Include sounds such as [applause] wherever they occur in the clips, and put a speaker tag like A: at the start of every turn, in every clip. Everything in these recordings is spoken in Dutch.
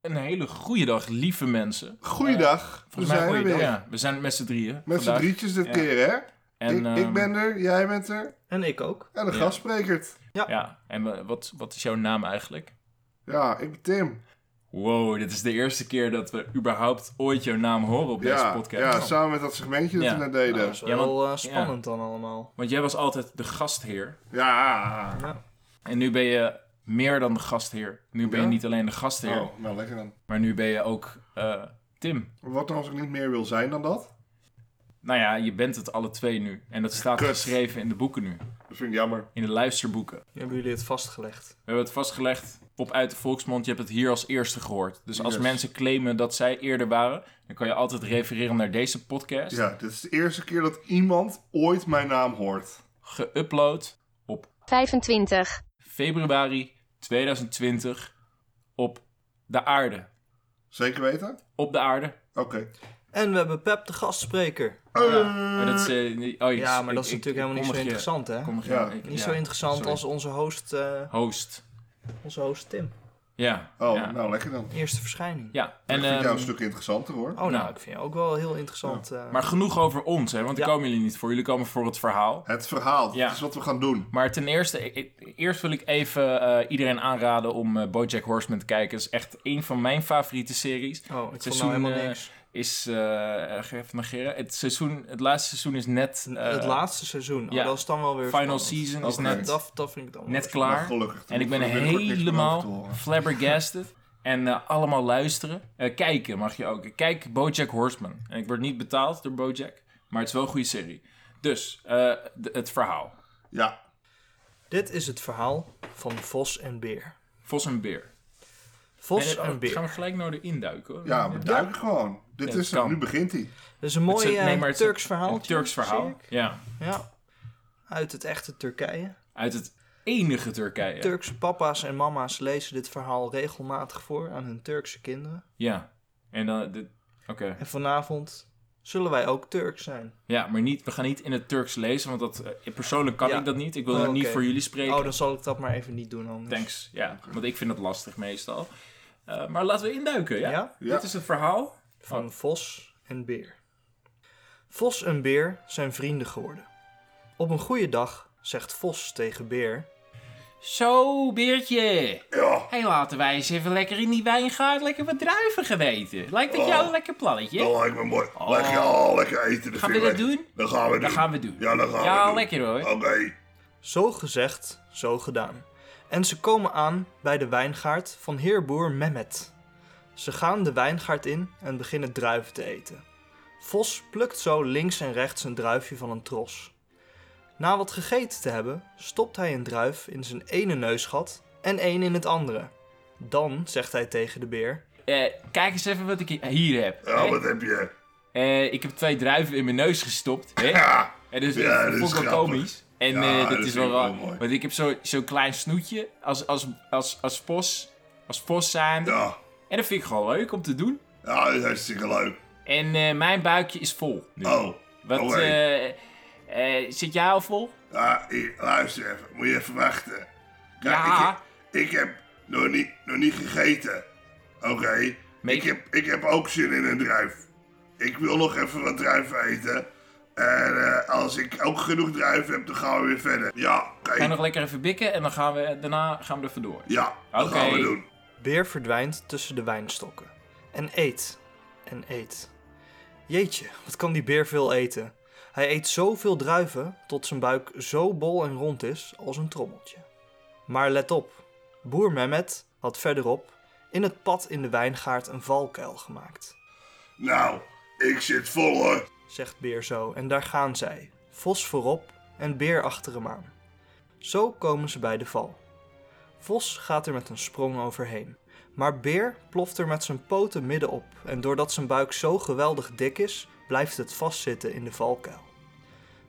A: Een hele goede dag, lieve mensen.
B: Goeiedag, we
A: Volgens mij
B: zijn er
A: goeie dag.
B: weer.
A: Ja, we zijn met z'n drieën.
B: Met z'n
A: vandaag.
B: drietjes dit
C: Ja.
B: keer, hè?
A: En,
B: ik,
A: ehm,
B: ik ben er, jij bent er
C: En ik ook.
B: en de
A: Ja.
B: gastspreker.
A: Ja, en we- wat, wat is jouw naam eigenlijk?
B: Ja, ik ben Tim.
A: Wow, dit is de eerste keer dat we überhaupt ooit jouw naam horen op
B: ja,
A: deze podcast.
B: ja, samen met dat segmentje dat
A: Ja.
B: we net
C: Nou,
B: deden.
C: dat is wel
A: Ja, want-
C: eh, spannend dan allemaal.
A: Want jij was altijd de gastheer.
B: Ja.
C: Ja.
A: En nu ben je meer dan de gastheer. Nu ben je
B: Ja?
A: niet alleen de gastheer,
B: Oh, nou lekker dan.
A: maar nu ben je ook eh, Tim.
B: Wat nou als ik niet meer wil zijn dan dat?
A: Nou ja, je bent het alle twee nu. En dat staat
B: Kut.
A: geschreven in de boeken nu.
B: Dat vind ik jammer.
A: In de luisterboeken.
C: Nu hebben jullie het vastgelegd.
A: We hebben het vastgelegd op uit de volksmond. Je hebt het hier als eerste gehoord. Dus als
B: Yes.
A: mensen claimen dat zij eerder waren, dan kan je altijd refereren naar deze podcast.
B: Ja, dit is de eerste keer dat iemand ooit mijn naam hoort.
A: Geüpload op
D: 25.
A: februari 2020 op de aarde.
B: Zeker weten?
A: Op de aarde.
B: Oké.
C: En we hebben Pep de gastspreker.
A: Maar dat is, eh, niet- oh,
C: Ja, maar dat is natuurlijk helemaal niet zo interessant, hè?
B: Ja.
C: Niet zo interessant als onze host, eh,
A: host.
C: onze host Tim.
A: Ja.
B: Oh,
A: ja.
B: nou lekker dan.
C: Eerste verschijning.
A: ja.
B: En,
A: En,
B: ik vind jou
A: ehm,
B: een stuk interessanter hoor.
C: Oh, nou,
A: Nou.
C: ik vind je ook wel heel interessant. eh.
A: maar genoeg over ons, hè? Want daar
C: Ja.
A: komen jullie niet voor. Jullie komen voor het verhaal.
B: Het verhaal,
A: Ja.
B: dat is wat we gaan doen.
A: Maar ten eerste, ik- ik- eerst wil ik even eh, iedereen aanraden om eh, BoJack Horseman te kijken. Het is echt een van mijn favoriete series.
C: oh, ik vond
A: seizoen,
C: nou helemaal
A: eh,
C: niks.
A: Is, eh, eh, even negeren. Het, seizoen, het laatste seizoen is net... eh,
C: het laatste seizoen. Oh,
A: ja.
C: dat is dan wel weer
A: Final
C: spannend. Oh,
A: season is
B: Oké.
A: net,
C: Dat, dat vind ik dan wel
A: net
C: weer
B: Maar
A: klaar.
B: gelukkig.
A: En ik ben
B: Daar binnenkort niks meer over te
A: helemaal
B: horen.
A: flabbergasted. En eh, allemaal luisteren. Eh, kijken mag je ook. Kijk BoJack Horseman. En ik word niet betaald door BoJack. Maar het is wel een goede serie. Dus, eh, d- het verhaal.
B: Ja,
C: spannend. Dit is het verhaal van Vos en Beer. Vos
A: Vos en Beer.
C: en,
A: oh,
C: Beer.
A: Gaan we gelijk naar de induiken hoor.
B: ja maar duik gewoon. Dit
A: Ja,
B: is
A: kan.
B: hem, nu begint hij.
C: Dat is een
A: Het is-
C: mooi
A: nee,
C: eh,
A: maar het is
C: Turks
A: een-
C: verhaal.
A: Een Turks verhaal. Ja.
C: Ja, uit het echte Turkije.
A: Uit het enige Turkije.
C: Turkse papa's en mama's lezen dit verhaal regelmatig voor aan hun Turkse kinderen.
A: ja. En dan. dit- Oké.
C: En vanavond zullen wij ook Turk zijn.
A: Ja, maar niet, we gaan niet in het Turks lezen, want dat, eh, persoonlijk kan
C: Ja.
A: ik dat niet. Ik wil
C: Oh,
A: het niet
C: oké.
A: voor jullie spreken.
C: Oh, dan zal ik dat maar even niet doen anders.
A: Thanks. Ja, want ik vind dat lastig meestal. Eh, maar laten we induiken. Ja?
C: Ja?
B: Ja.
A: Dit is het verhaal.
C: Van Vos en Beer. Vos en Beer zijn vrienden geworden. Op een goede dag zegt Vos tegen Beer...
A: Zo, Beertje. Ja. Hey, laten wij eens even lekker in die wijngaard lekker wat druiven geweten. Lijkt
B: Oh.
A: dat jou een lekker plannetje?
B: Dat lijkt me mooi. Leg je al lekker eten de
A: Oh. Gaan we dat doen?
B: Dat gaan we doen.
A: Dat gaan we doen.
B: Ja, dat gaan
A: Ja,
B: we doen.
A: lekker hoor.
B: Oké.
C: Zo gezegd, zo gedaan. En ze komen aan bij de wijngaard van heerboer Mehmet. Ze gaan de wijngaard in en beginnen druiven te eten. Vos plukt zo links en rechts een druifje van een tros. Na wat gegeten te hebben, stopt hij een druif in zijn ene neusgat en één in het andere. Dan zegt hij tegen de beer:
A: Eh, kijk eens even wat ik hi- hier heb. hè?
B: Ja, wat heb je?
A: Eh, ik heb twee druiven in mijn neus gestopt.
B: [laughs]
A: Hè?
B: Ja.
A: En dus,
B: Ja,
A: dat
B: dat
A: vond
B: is
A: ik wel
B: grappig.
A: komisch. En
B: Ja,
A: eh, dat,
B: dat
A: is
B: vind
A: wel
B: ik wel
A: raar.
B: mooi.
A: Want ik heb zo- zo'n klein snoetje als, als, als, als pos. Als pos zijn.
B: Ja.
A: En dat vind ik gewoon leuk om te doen.
B: Ja, dat is hartstikke leuk.
A: En eh, mijn buikje is vol. Nu.
B: Oh.
A: Wat,
B: oké.
A: eh, eh, zit jij al vol?
B: Ja, hier, luister even. Moet je even wachten. Kijk,
A: Ja.
B: Ik, ik heb nog niet, nog niet gegeten. Oké.
A: Nee.
B: Ik, heb, ik heb ook zin in een druif. Ik wil nog even wat druif eten. En eh, als ik ook genoeg druif heb, dan gaan we weer verder. Ja, oké.
A: Ga je nog lekker even bikken en dan gaan we, daarna gaan we er vandoor.
B: Ja, dat
A: Oké.
B: gaan we doen.
C: Beer verdwijnt tussen de wijnstokken. En eet. En eet. Jeetje, wat kan die beer veel eten. Hij eet zoveel druiven tot zijn buik zo bol en rond is als een trommeltje. Maar let op. Boer Mehmet had verderop in het pad in de wijngaard een valkuil gemaakt.
B: Nou, ik zit vol hoor.
C: Zegt Beer zo en daar gaan zij. Vos voorop en Beer achter hem aan. Zo komen ze bij de val. Vos gaat er met een sprong overheen. Maar Beer ploft er met zijn poten middenop en doordat zijn buik zo geweldig dik is, blijft het vastzitten in de valkuil.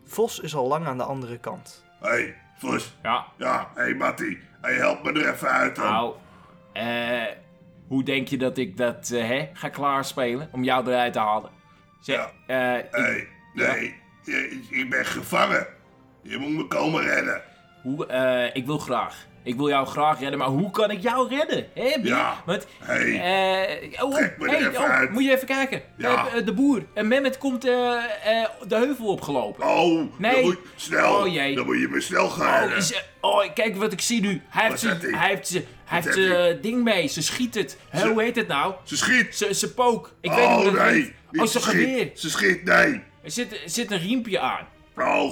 C: Vos is al lang aan de andere kant.
B: Hé, hey, Vos.
A: Ja,
B: Ja, hé hey, Matty. Hé, hey, help me er even uit dan.
A: nou. eh, hoe denk je dat ik dat eh, hè, ga klaarspelen om jou eruit te halen? Zeg, eh, ik-
B: Hé, hey, nee. Je- Ik ben gevangen. Je moet me komen redden.
A: hoe, eh, ik wil graag. Ik wil jou graag redden, maar hoe kan ik jou redden? Hé, Bier?
B: Ja.
A: Want,
B: Hey.
A: eh, oh, oh,
B: Trek me er
A: hey,
B: even
A: oh,
B: uit.
A: moet je even kijken.
B: Ja.
A: Eh, eh, de boer. En Mehmet komt eh, eh, de heuvel opgelopen.
B: Oh,
A: Nee.
B: dan moet, snel,
A: Oh, jee.
B: dan moet je me snel gaan.
A: Oh,
B: redden.
A: is, eh, oh, kijk wat ik zie nu. Hij heeft
B: Wat
A: zijn
B: heeft hij?
A: hij heeft zijn- hij heeft
B: heeft
A: zijn,
B: hij?
A: eh, ding mee. Ze schiet het. Hè,
B: Ze-
A: hoe heet het nou?
B: Ze schiet.
A: Ze, ze pook. Ik weet niet
B: oh,
A: hoe dat
B: nee.
A: heet.
B: Niet
A: Oh, ze
B: schiet.
A: geweer.
B: Ze schiet, nee.
A: Er zit, er zit een riempje aan.
B: Oh,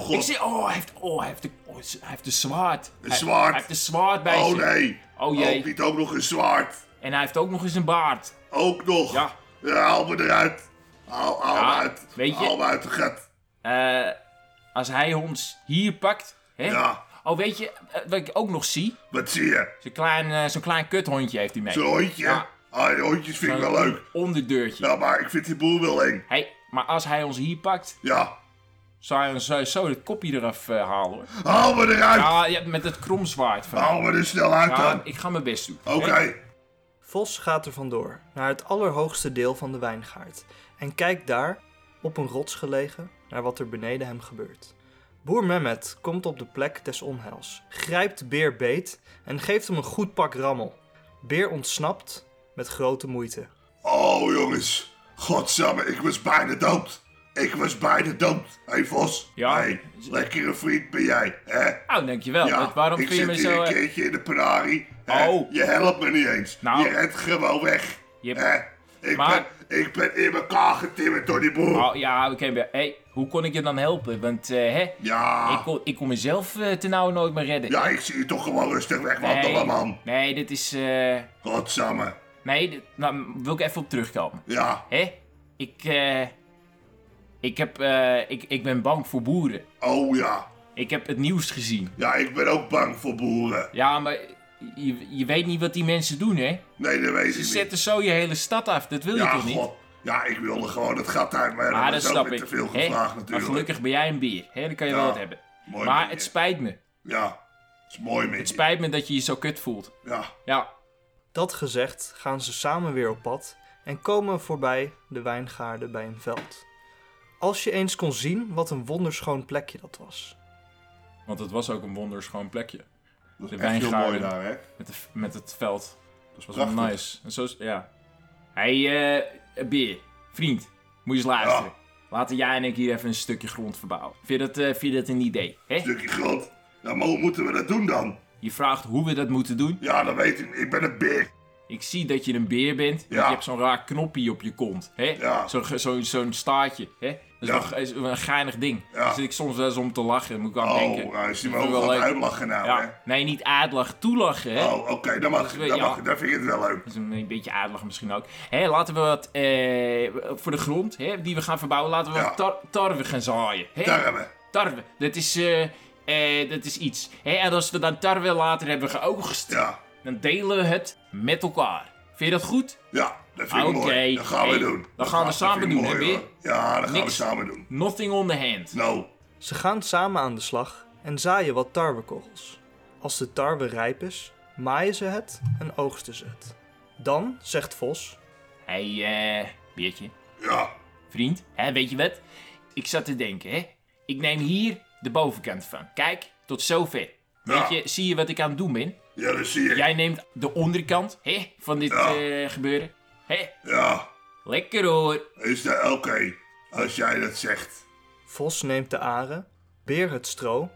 A: Ik
B: god.
A: zie, oh, hij heeft, oh, hij heeft, een, oh, ze- hij heeft een zwaard. Een
B: zwaard.
A: Hij heeft een zwaard bij
B: Oh,
A: zich.
B: nee.
A: Oh, jee.
B: Piet, ook nog een zwaard.
A: En hij heeft ook nog eens een baard.
B: Ook nog.
A: Ja.
B: haal me eruit. Haal, haal
A: Ja,
B: me uit.
A: weet je-
B: Haal me uit de gat.
A: Eh, als hij ons hier pakt, hè?
B: Ja.
A: Oh, weet je, eh, wat ik ook nog zie?
B: Wat zie je?
A: Zo'n klein, eh, zo'n klein kuthondje heeft hij mee.
B: Zo'n hondje?
A: Ja.
B: Ah, die hondjes vind ik wel leuk.
A: Onderdeurtje.
B: Ja, maar ik vind die boer wel eng.
A: Hey, maar als hij ons hier pakt,
B: Ja.
A: zou hij ons sowieso het kopje eraf eh, halen hoor.
B: Haal me eruit.
A: Ja, ja, met het kromzwaard van.
B: Haal me er snel uit
A: Ja,
B: dan.
A: ik ga mijn best doen.
B: Nou, Oké.
A: hè?
C: Vos gaat er vandoor naar het allerhoogste deel van de wijngaard en kijkt daar, op een rots gelegen, naar wat er beneden hem gebeurt. Boer Mehmet komt op de plek des onheils, grijpt Beer beet en geeft hem een goed pak rammel. Beer ontsnapt met grote moeite.
B: Oh, jongens. Godsamme, ik was bijna dood. Ik was bijna dood. Hé, hey, Vos.
A: Ja.
B: Hey, lekkere vriend ben jij, hè?
A: Oh, dankjewel.
B: Ja,
A: Want waarom
B: ik
A: vind je
B: zit
A: me
B: hier
A: zo...
B: een
A: eh,
B: keertje in de Ferrari. hè?
A: Oh.
B: Je helpt me niet eens.
A: Nou.
B: Je rent gewoon weg.
A: Je-
B: hè? Ik,
A: Maar-
B: ben, ik ben in elkaar getimmerd door die boer.
A: Oh, ja, oké. maar, hey, hoe kon ik je dan helpen? Want, eh, hè?
B: Ja.
A: Ik kon, ik kon mezelf eh, ten nauwe nooit meer redden.
B: ja, ik zie je toch gewoon rustig wegwandelen,
A: nee,
B: man.
A: nee, dit is... eh,
B: Godsamme.
A: nee, dit, nou, wil ik even op terugkomen.
B: Ja.
A: Hè? Ik, eh, ik, heb, eh, ik, ik ben bang voor boeren.
B: Oh ja.
A: Ik heb het nieuws gezien.
B: Ja, ik ben ook bang voor boeren.
A: Ja, maar je, je weet niet wat die mensen doen, hè?
B: Nee, dat weet
A: Ze
B: ik niet.
A: zetten zo je hele stad af. Dat wil je
B: Ja,
A: toch niet?
B: god. Ja, ik wilde gewoon het gat uit, maar
A: Ah,
B: dat
A: dat
B: is ook
A: snap
B: weer
A: ik.
B: te veel
A: hè?
B: gevraagd
A: maar
B: natuurlijk.
A: gelukkig ben jij een bier. Hè? Dan kan je
B: Ja,
A: wel wat hebben.
B: mooi
A: maar
B: manier.
A: het spijt me.
B: Ja, is mooi mee.
A: Het spijt me dat je je zo kut voelt.
B: Ja,
A: Ja,
C: Dat gezegd gaan ze samen weer op pad en komen voorbij de wijngaarden bij een veld. Als je eens kon zien wat een wonderschoon plekje dat was.
A: want het was ook een wonderschoon plekje.
B: dat
A: De
B: is echt heel mooi
A: wijngaarden.
B: daar, hè?
A: Met, de, met het veld.
B: Dat is
A: Dat was wel
B: prachtig.
A: nice. En zo, is- ja. Hé, hey, Beer, vriend, moet je eens luisteren. Laten jij en ik hier even een stukje grond verbouwen. Vind je dat, eh, vind je dat een idee? Hè?
B: Stukje grond. Nou, maar hoe moeten we dat doen dan?
A: Je vraagt hoe we dat moeten doen.
B: Ja, dat weet ik niet. Ik ben een beer.
A: Ik zie dat je een beer bent. want
B: Ja.
A: Je hebt zo'n raar knoppie op je kont. hè?
B: Ja.
A: Zo'n ge- zo'n- zo'n staartje. hè? Dat is,
B: Ja.
A: wel ge- is wel een geinig ding.
B: Ja.
A: Daar zit ik soms wel eens om te lachen. Dan moet ik aan denken.
B: Oh, hij is
A: Dat
B: die
A: vind ik
B: wel
A: wel
B: aan het
A: leuk.
B: uitlachen nou, hè?
A: Ja. Nee, niet aardlag, toelachen. Hè?
B: Oh, oké, dan mag
A: is
B: ik.
A: wel-
B: Dan
A: ja.
B: mag ik. Dan vind ik het wel leuk.
A: Dat is een, een beetje aardig misschien ook. Hè, laten we wat eh, voor de grond hè, die we gaan verbouwen, laten we
B: Ja.
A: wat tar- tarwe gaan zaaien. Hè?
B: Daar hebben we.
A: Tarwe, dat is, eh, eh, dat is iets. Hè? En als we dan tarwe later hebben geoogst,
B: Ja,
A: dan delen we het met elkaar. Vind je dat goed?
B: ja, dat vind ik
A: Ah, Oké,
B: mooi. Dat gaan we
A: hey,
B: doen.
A: dat
B: Dat
A: gaan we
B: dat
A: samen
B: vind ik
A: doen,
B: mooi,
A: hè, Beer?
B: hoor. Ja, dat gaan we
A: Niks.
B: samen doen.
A: Nothing on the hand.
B: Nou,
C: Ze gaan samen aan de slag en zaaien wat tarwekogels. Als de tarwe rijp is, maaien ze het en oogsten ze het. Dan, zegt Vos,
A: Hé, hey, eh, Beertje,
B: ja,
A: vriend, hè, weet je wat? Ik zat te denken, hè? Ik neem hier de bovenkant van. Kijk, tot zover.
B: Ja.
A: Weet je, zie je wat ik aan het doen ben?
B: ja, dat zie ik.
A: Jij neemt de onderkant hè, van dit
B: Ja.
A: eh, gebeuren. Hè?
B: Ja,
A: Lekker hoor.
B: is dat oké? Als jij dat zegt.
C: Vos neemt de aren, Beer het stro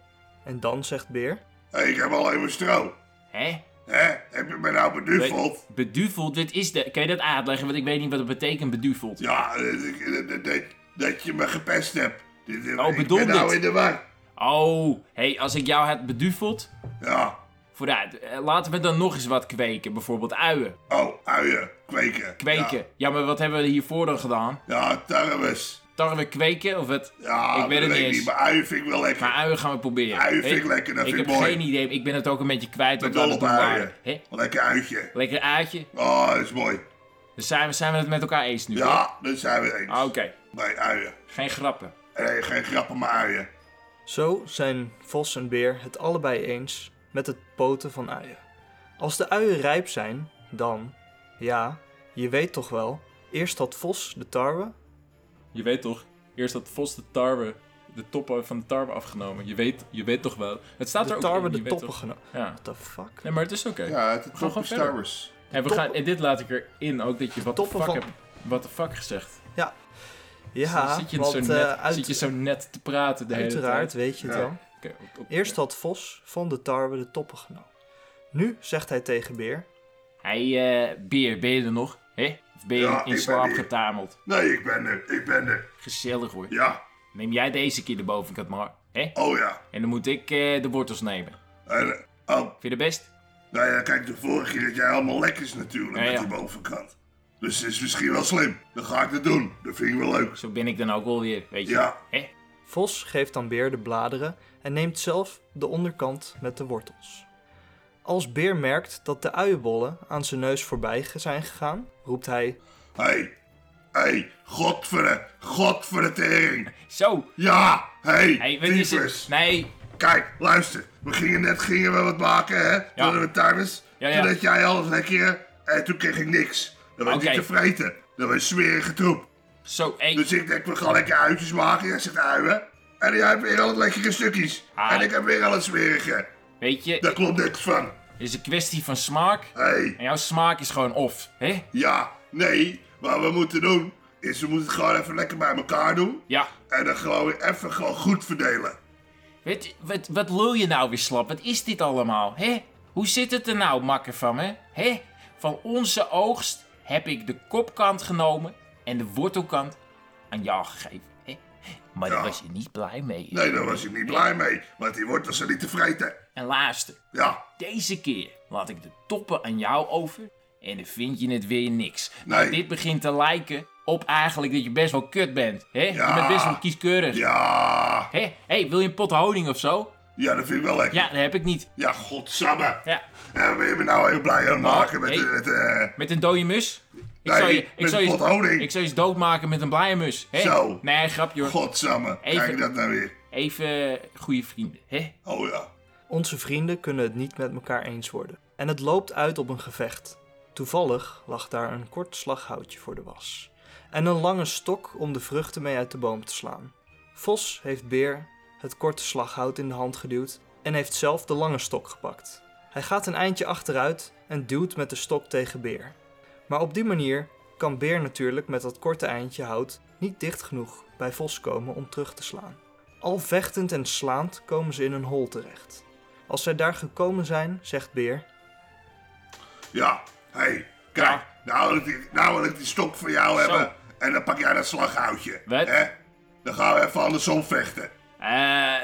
C: en dan zegt Beer,
B: Hé, ik heb al even stro.
A: Hè?
B: Hè? Heb je me nou beduveld?
A: Beduveld, dit is de. Kan je dat uitleggen? Want ik weet niet wat het betekent, beduveld.
B: Ja, dat, dat- dat- dat je me gepest hebt. Dit- dit-
A: Oh,
B: ik
A: bedoel
B: ben nou
A: dit?
B: in de war.
A: Oh, hey, als ik jou had beduveld.
B: Ja.
A: Vooruit, Eh, laten we dan nog eens wat kweken. Bijvoorbeeld uien.
B: Oh, uien. Kweken.
A: Kweken.
B: Ja,
A: Ja, maar wat hebben we hiervoor dan gedaan?
B: ja tarwes.
A: Tarwe kweken of het.
B: Ja,
A: ik weet het niet eens.
B: Maar uien vind ik wel lekker.
A: Maar uien gaan we proberen.
B: Uien
A: Hè?
B: vind ik lekker, dat
A: Ik
B: vind
A: heb
B: ik mooi.
A: geen idee, ik ben het ook een beetje kwijt
B: Met
A: wat we aan
B: dol
A: het
B: op
A: doen
B: uien.
A: waren. Hè?
B: Lekker uitje.
A: Lekker uitje.
B: Oh, dat is mooi.
A: Dus zijn we, zijn we het met elkaar eens nu? hè?
B: Ja, dat zijn we eens.
A: Ah, Oké,
B: Bij uien.
A: geen grappen.
B: Nee, geen grappen, maar uien.
C: Zo zijn Vos en Beer het allebei eens met het poten van uien. Als de uien rijp zijn, dan, ja, je weet toch wel, eerst had Vos de tarwe
A: Je weet toch, eerst dat Vos de tarwe, de toppen van de tarwe afgenomen. Je weet, je weet toch wel. Het staat
C: De
A: er ook
C: tarwe
A: in, je
C: de
A: weet
C: toppen
A: toch-
C: genomen.
A: Ja.
C: What the fuck?
A: Nee, maar het is oké.
D: Ja, het, het
A: gewoon
D: top
A: verder.
D: Star Wars.
A: En, we
C: toppen-
A: gaan, en dit laat ik erin ook, dat je wat de fuck,
C: Toppen van-
A: hebt- what the fuck gezegd.
C: Ja,
A: zit, je
C: want
A: zo net,
C: eh, uit-
A: zit je zo net te praten de hele
C: uiteraard
A: tijd.
C: weet je het
B: Ja.
C: wel.
A: Oké, op- op-
C: Eerst had Vos van de tarwe de toppen genomen. Nu zegt hij tegen Beer...
A: Hey, eh, Beer, ben je er nog? Hé? Of ben je
B: Ja, ik
A: in
B: ben
A: slaap
B: hier.
A: getameld?
B: Nee, ik ben er. Ik ben er.
A: Gezellig hoor.
B: Ja.
A: Neem jij deze keer de bovenkant maar. Hé?
B: Oh ja.
A: En dan moet ik eh, de wortels nemen.
B: En, eh, oh,
A: Vind je dat best?
B: nou ja, kijk, de vorige keer dat jij allemaal lekkers natuurlijk
A: Ja,
B: met
A: ja.
B: die bovenkant. Dus het is misschien wel slim. Dan ga ik dat doen. Dat vind ik wel leuk.
A: Zo ben ik dan ook alweer, weet je.
B: Ja.
A: Hé?
C: Vos geeft dan Beer de bladeren en neemt zelf de onderkant met de wortels. Als Beer merkt dat de uienbollen aan zijn neus voorbij ge- zijn gegaan, roept hij...
B: Hé. Hey. Hé. Hey. Godverre. Godverre tering.
A: Zo!
B: Ja. Hé.
A: Hey,
B: Hey,
A: wat is
B: tyfus.
A: het? Nee!
B: Kijk, luister. We gingen net gingen we wat maken, hè? Toen hadden we tuiners.
A: Ja, ja.
B: Toen deed jij alles lekker. En toen kreeg ik niks. Dat was
A: Oké.
B: niet te vreten. Dat was smerige troep.
A: Zo, hé!
B: Dus ik denk, we gaan lekker uitjes maken. Jij zegt uien. En jij hebt weer al het lekkere stukjes.
A: Ah.
B: En ik heb weer al het smerige.
A: Weet je,
B: Daar klopt niks van.
A: het is een kwestie van smaak.
B: Hé, hey,
A: En jouw smaak is gewoon off, hè?
B: ja, nee. Wat we moeten doen, is we moeten het gewoon even lekker bij elkaar doen.
A: Ja.
B: En dan gewoon weer even gewoon goed verdelen.
A: Weet, je- wat, wat lul je nou weer slap? Wat is dit allemaal, hè? Hoe zit het er nou, makker van me? Hè? Van onze oogst heb ik de kopkant genomen en de wortelkant aan jou gegeven, hè? Maar daar
B: Ja.
A: was je niet blij mee.
B: Nee, daar was ik niet blij mee. Want die wortels zijn niet te vreten.
A: En luister,
B: Ja,
A: Deze keer laat ik de toppen aan jou over en dan vind je het weer niks. Nou,
B: Nee.
A: dit begint te lijken op eigenlijk dat je best wel kut bent. Hè? Je
B: Ja.
A: bent best wel kieskeurig.
B: ja.
A: Hè? hey, wil je een pot honing of zo?
B: Ja, dat vind ik wel lekker.
A: Ja, dat heb ik niet.
B: Ja, godsamme.
A: Ja. Oh,
B: En ben je me nou heel blij aan het maken met...
A: nee.
B: met eh,
A: Met een dode mus? Ik
B: Nee,
A: zou
B: met
A: zou
B: een pot honing.
A: Ik zou je eens doodmaken met een blije mus. Hè?
B: Zo.
A: Nee, grapje hoor.
B: godsamme.
A: Even-
B: Kijk dat nou weer.
A: Even eh, goede vrienden. Hè?
B: Oh ja.
C: Onze vrienden kunnen het niet met elkaar eens worden. En het loopt uit op een gevecht. Toevallig lag daar een kort slaghoutje voor de was. En een lange stok om de vruchten mee uit de boom te slaan. Vos heeft Beer het korte slaghout in de hand geduwd en heeft zelf de lange stok gepakt. Hij gaat een eindje achteruit en duwt met de stok tegen Beer. Maar op die manier kan Beer natuurlijk met dat korte eindje hout niet dicht genoeg bij Vos komen om terug te slaan. Al vechtend en slaand komen ze in een hol terecht. Als zij daar gekomen zijn, zegt Beer,
B: Ja, hé, hey, kijk, nou wil, ik die, nou wil ik die stok van jou
A: Zo.
B: hebben. En dan pak jij dat slaghoutje.
A: Wat?
B: Hè? Dan gaan we even andersom vechten.
A: Eh,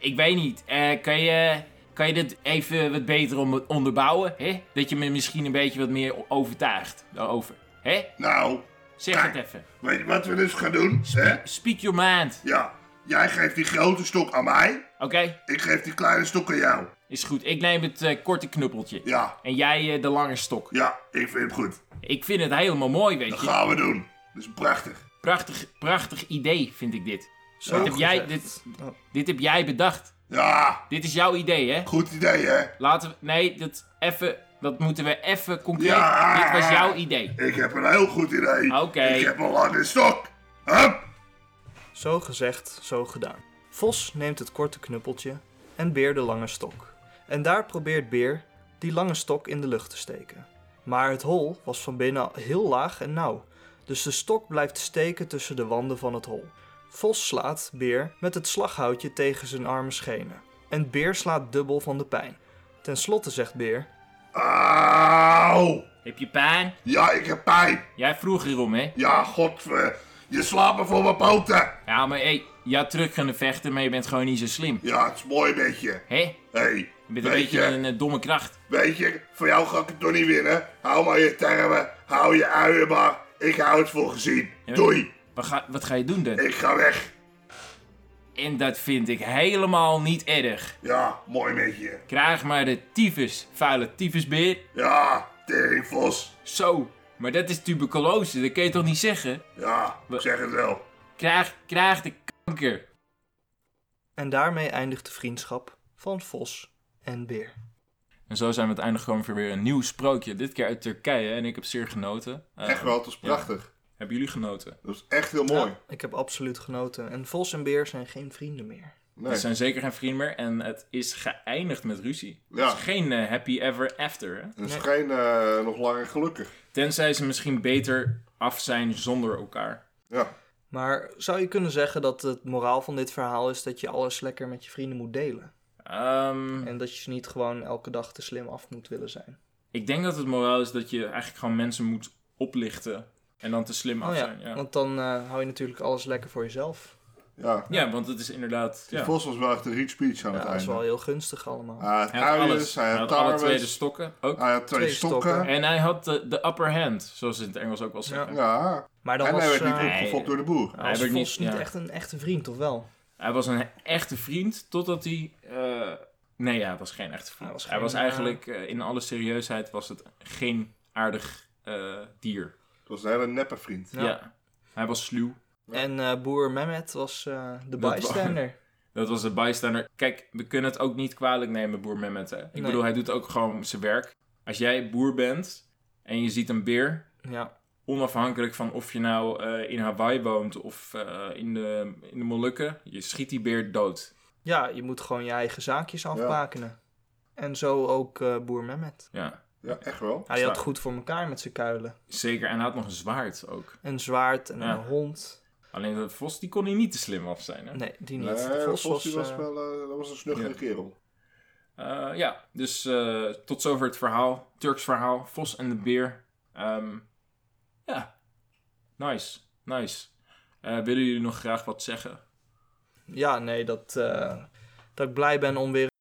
A: ik weet niet. Eh, kan, je, kan je dit even wat beter om- onderbouwen? Hè? Dat je me misschien een beetje wat meer o- overtuigt daarover. Hè?
B: Nou,
A: Zeg
B: Kijk.
A: het even.
B: weet je wat we dus gaan doen? Hè?
A: Speak your mind.
B: Ja, jij geeft die grote stok aan mij.
A: Oké?
B: Ik geef die kleine stok aan jou.
A: Is goed. Ik neem het eh, korte knuppeltje.
B: Ja,
A: En jij eh, de lange stok.
B: ja, ik vind het goed.
A: Ik vind het helemaal mooi,
B: Dat
A: weet je.
B: gaan we doen. Dat is prachtig.
A: Prachtig, prachtig idee vind ik dit.
C: zo
A: heb jij
C: gezegd. Oh,
A: Dit heb jij bedacht.
B: Ja,
A: Dit is jouw idee, hè?
B: goed idee, hè?
A: Laten we... Nee, dat even... Dat moeten we even concreet...
B: Ja.
A: Dit was jouw idee.
B: Ik heb een heel goed idee.
A: Oké.
B: Ik heb een lange stok. Hup!
C: Zo gezegd, zo gedaan. Vos neemt het korte knuppeltje en Beer de lange stok. En daar probeert Beer die lange stok in de lucht te steken. Maar het hol was van binnen heel laag en nauw, dus de stok blijft steken tussen de wanden van het hol. Vos slaat Beer met het slaghoutje tegen zijn arme schenen. En Beer slaat dubbel van de pijn. Ten slotte zegt Beer,
B: Auw!
A: Heb je pijn?
B: Ja, ik heb pijn.
A: Jij vroeg hierom, hè?
B: Ja, godver. Je slaapt me voor mijn poten.
A: Ja, maar hé, je had terug kunnen vechten, maar je bent gewoon niet zo slim.
B: Ja, het is mooi met je.
A: Hé?
B: Hé, hey,
A: Je bent een
B: weet
A: beetje
B: je,
A: een eh, domme kracht.
B: weet je, voor jou ga ik het toch niet winnen. Hou maar je termen, hou je uien maar. Ik hou het voor gezien. Doei,
A: Wat ga, wat ga je doen dan?
B: ik ga weg.
A: En dat vind ik helemaal niet erg.
B: Ja, mooi met je.
A: Krijg maar de tyfus, vuile tyfusbeer.
B: Ja, teringvos.
A: Zo, maar dat is tuberculose, dat kun je toch niet zeggen?
B: Ja, ik zeg het wel.
A: Krijg, krijg de kanker.
C: En daarmee eindigt de vriendschap van Vos en Beer.
A: En zo zijn we uiteindelijk gewoon weer een nieuw sprookje. Dit keer uit Turkije en ik heb zeer genoten. Eh,
D: Echt wel, het was prachtig.
A: Hebben jullie genoten?
B: Dat is echt heel mooi.
C: Ja, ik heb absoluut genoten. En Vos en Beer zijn geen vrienden meer.
A: Ze
B: Nee.
A: zijn zeker geen vrienden meer en het is geëindigd met ruzie.
B: Ja.
A: Het is geen eh, happy ever after. Hè?
B: Dat is geen eh, nog langer gelukkig.
A: Tenzij ze misschien beter af zijn zonder elkaar.
B: Ja.
C: Maar zou je kunnen zeggen dat het moraal van dit verhaal is dat je alles lekker met je vrienden moet delen?
A: Ehm,
C: En dat je ze niet gewoon elke dag te slim af moet willen zijn?
A: ik denk dat het moraal is dat je eigenlijk gewoon mensen moet oplichten en dan te slim af
C: Oh ja,
A: zijn. Ja.
C: want dan eh, hou je natuurlijk alles lekker voor jezelf.
B: Ja.
A: Ja, want het is inderdaad.
B: Die
A: Ja.
B: Vos was wel echt een rich speech aan
C: Ja,
B: het
C: dat is wel
B: einde.
C: heel gunstig allemaal.
B: Hij had
A: Hij had
B: uiers,
A: alles.
B: hij
A: Hij
B: had
A: had alle twee de
B: tarwes,
A: stokken ook.
B: hij had twee
C: Twee
B: stokken.
C: stokken.
A: En hij had de, de upper hand, zoals ze in het Engels ook wel zeggen.
B: Ja.
C: Maar dan
B: En hij
C: was,
B: werd niet
C: eh,
B: opgefokt door de boer.
A: Hij
C: was
A: werd
C: Vos
A: niet-
C: niet,
A: ja.
C: echt een echte vriend, of wel?
A: Hij was een echte vriend, totdat hij... eh, Nee, ja, hij was geen echte vriend. Hij
C: Hij
A: was,
C: was geen,
A: eigenlijk, eh, in alle serieusheid, was het geen aardig eh, dier.
B: Het was een hele neppe vriend.
A: Ja.
C: Ja.
A: Hij was sluw.
C: En eh, boer Mehmet was eh, de
A: Dat [laughs]
C: bijstander.
A: Dat was de bijstander. Kijk, we kunnen het ook niet kwalijk nemen, boer Mehmet. Hè? Ik
C: Nee.
A: bedoel, hij doet ook gewoon zijn werk. Als jij boer bent en je ziet een beer...
C: Ja,
A: Onafhankelijk van of je nou eh, in Hawaii woont of eh, in, de, in de Molukken, je schiet die beer dood.
C: ja, je moet gewoon je eigen zaakjes afbakenen. En zo ook eh, boer Mehmet.
A: Ja,
B: Ja, echt wel.
C: Hij had
A: Zwaar.
C: goed voor elkaar met zijn kuilen.
A: zeker. En hij had nog een zwaard ook.
C: Een zwaard en
A: Ja.
C: een hond.
A: Alleen de vos, die kon hij niet te slim af zijn. Hè?
C: Nee, die niet.
B: Nee,
C: de vos,
B: Vos die was
C: eh,
B: wel eh, dat was een snuggere
A: ja.
B: kerel.
A: Eh, ja, dus eh, tot zover het verhaal. Turks verhaal. Vos en de beer. Ehm, ja, nice. Nice. Eh, willen jullie nog graag wat zeggen?
C: Ja, nee, dat, eh, dat ik blij ben om weer